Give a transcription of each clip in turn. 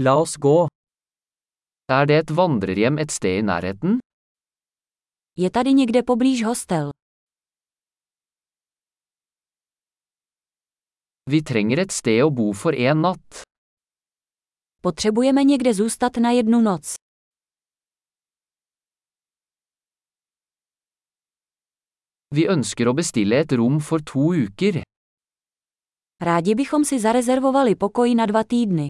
La oss gå. Er det et vandrerhjem et sted i nærheten? Je tady někde poblíž hostel. Vi trenger et sted å bo for en natt. Potřebujeme někde zůstat na jednu noc. Vi ønsker å bestille et rom for to uker. Rádi bychom si zarezervovali pokoj na dva týdny.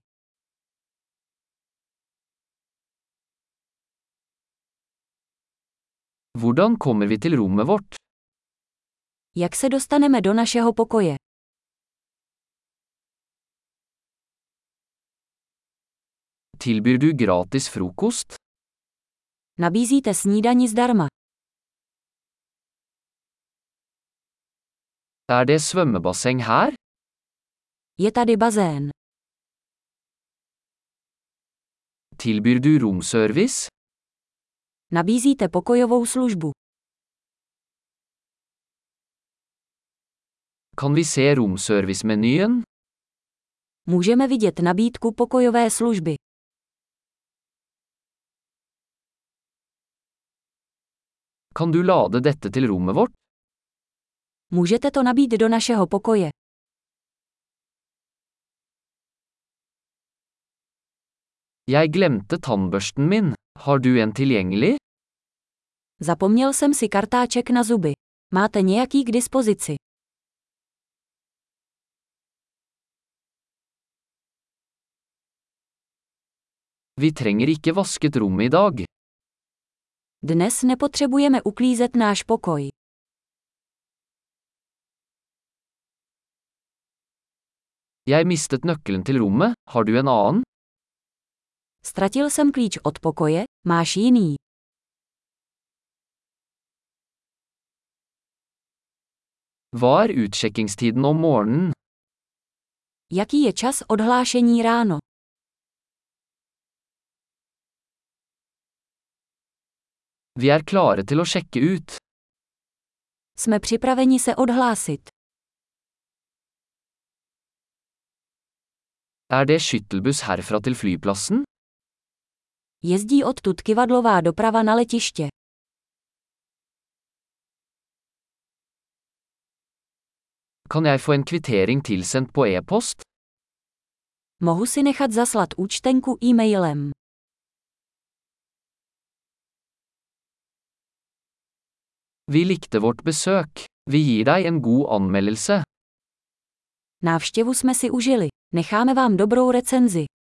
Hvordan kommer vi til rommet vårt? Jak se dostaneme do našeho pokoje? Tilbyr du gratis frokost? Nabízíte snídani zdarma. Er det svømmebasseng her? Je tady bazén. Tilbyr du romservice? Nabízíte pokojovou službu. Kan vi se romservice-menyen? Můžeme vidět nabídku pokojové služby. Kan du lade dette til rommet vårt? Můžete to nabít do našeho pokoje. Jeg glemte tannbørsten min. Har du en tilgjengelig? Zapomněl jsem si kartáček na zuby. Máte nějaký k dispozici? Vi trenger ikke vasket rommet i dag. Dnes nepotřebujeme uklízet náš pokoj. Jeg mistet nøkkelen til rommet, har du en annen? Ztratil jsem klíč od pokoje, máš jiný. Hva er utsjekkingstiden om morgenen? Jaký je čas odhlášení ráno? Vi er klare til å sjekke ut. Jsme připraveni se odhlásit. Er det skyttelbuss herfra til flyplassen? Jezdí odtud kivadlová doprava na letiště. Kan jeg få en kvittering tilsendt på e-post? Mohu si nechat zaslat účtenku e-mailem. Vi likte vårt besøk. Vi gir deg en god anmeldelse. Návštěvu jsme si užili. Necháme vám dobrou recenzi.